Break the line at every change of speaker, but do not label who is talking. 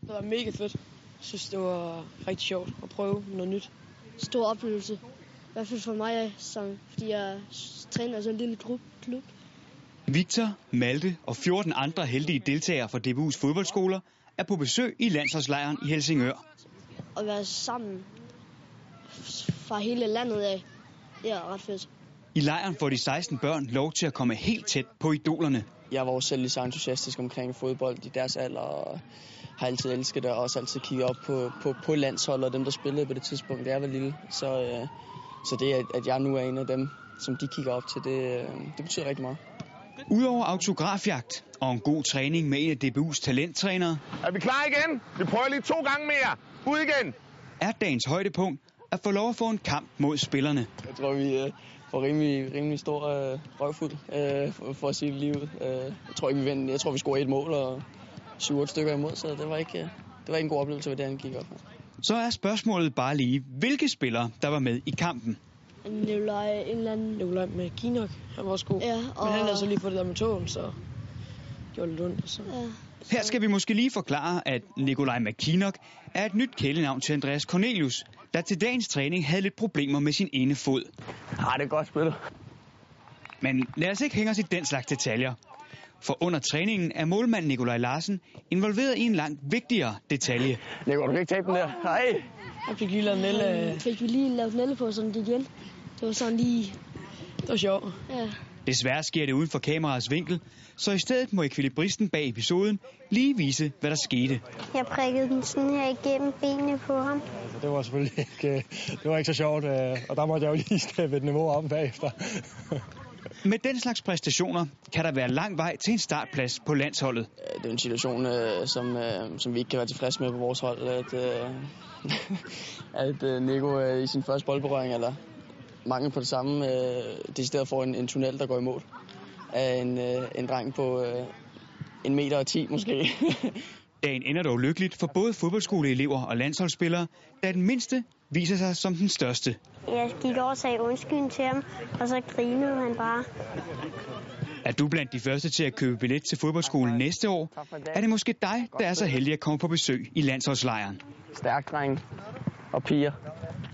Det var mega fedt. Jeg synes, det var rigtig sjovt at prøve noget nyt.
Stor oplevelse. I hvert fald for mig, som, fordi jeg træner i sådan en lille gruppe, klub.
Victor, Malte og 14 andre heldige deltagere fra DBU's fodboldskoler er på besøg i landsholdslejren i Helsingør.
At være sammen fra hele landet af, det er ret fedt.
I lejren får de 16 børn lov til at komme helt tæt på idolerne.
Jeg var også selv lige så entusiastisk omkring fodbold i deres alder, og har altid elsket det, og også altid kigget op på, på, på landsholdet og dem, der spillede på det tidspunkt, da jeg var lille. Så, øh, så det, at- at jeg nu er en af dem, som de kigger op til, det, øh, det betyder rigtig meget.
Udover autografjagt og en god træning med en af DBU's talenttrænere,
Er vi klar igen? Vi prøver lige to gange mere. Ud igen.
er dagens højdepunkt at få lov at få en kamp mod spillerne.
Jeg tror, vi øh, får rimelig, rimelig stor øh, røvfuld, øh, for, for at sige det lige ud. Øh, jeg, tror ikke, vi vandt. jeg tror, vi scorede et mål og 7-8 stykker imod, så det var ikke, øh, det var ikke en god oplevelse, hvad det han gik op med.
Så er spørgsmålet bare lige, hvilke spillere der var med i kampen.
Nikolaj, en eller anden...
Nikolaj med Kinok, han var også god.
Ja, og...
Men han havde så lige fået det der med togen, så det gjorde lidt ondt. Så.
Ja.
Her skal vi måske lige forklare, at Nikolaj McKinnock er et nyt kælenavn til Andreas Cornelius, der til dagens træning havde lidt problemer med sin ene fod.
Nej, Ah, det er godt spillet.
Men lad os ikke hænge os i den slags detaljer. For under træningen er målmand Nikolaj Larsen involveret i en langt vigtigere detalje.
Nico, du kan ikke tabe den der. Hej.
Jeg fik lige lavet en lille...
Øh... Fik vi lige lavet Nelle på, så den gik ind. Det var sådan lige...
Det var sjovt.
Ja.
Desværre sker det uden for kameraets vinkel, så i stedet må ekvilibristen bag episoden lige vise, hvad der skete.
Jeg prikkede den sådan her igennem benene på ham.
Så det var selvfølgelig ikke, øh, det var ikke så sjovt, øh, og der måtte jeg jo lige steppe et niveau op bagefter.
Med den slags præstationer kan der være lang vej til en startplads på landsholdet.
Øh, Det er jo en situation, øh, som, øh, som vi ikke kan være tilfredse med på vores hold, at, øh, at øh, Nico øh, i sin første boldberøring, eller mange på det samme, øh, decideret får en, en tunnel, der går i mål af en, øh, en dreng på øh, en meter og ti måske.
Dagen ender dog lykkeligt for både fodboldskoleelever og landsholdsspillere, da den mindste viser sig som den største.
Jeg gik over og sagde undskyld til ham, og så grinede han bare.
Er du blandt de første til at købe billet til fodboldskolen næste år, er det måske dig, der er så heldig at komme på besøg i landsholdslejren.
Stærk dreng og piger.